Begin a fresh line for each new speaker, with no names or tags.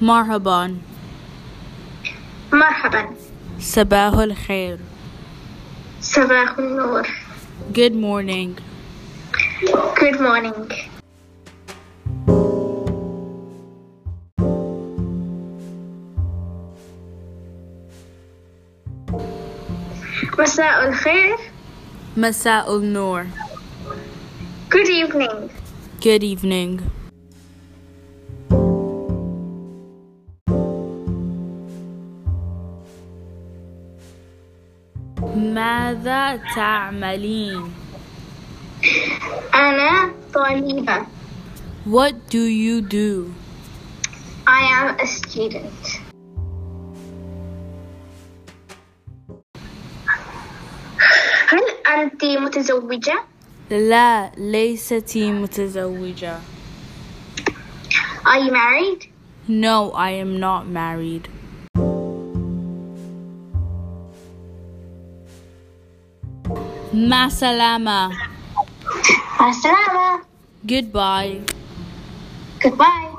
Marhaban.
مرحبا
Sabah al khair.
صباح النور
Good morning.
Good morning مساء الخير
Masa al nur.
Good evening
Good evening. ماذا تعملين?
أنا طالبة
What do you do?
I am a student هل أنت متزوجة؟
لا ليست متزوجة.
Are you married?
No, I am not married. Masalama.
مع السلامة
Goodbye.
Goodbye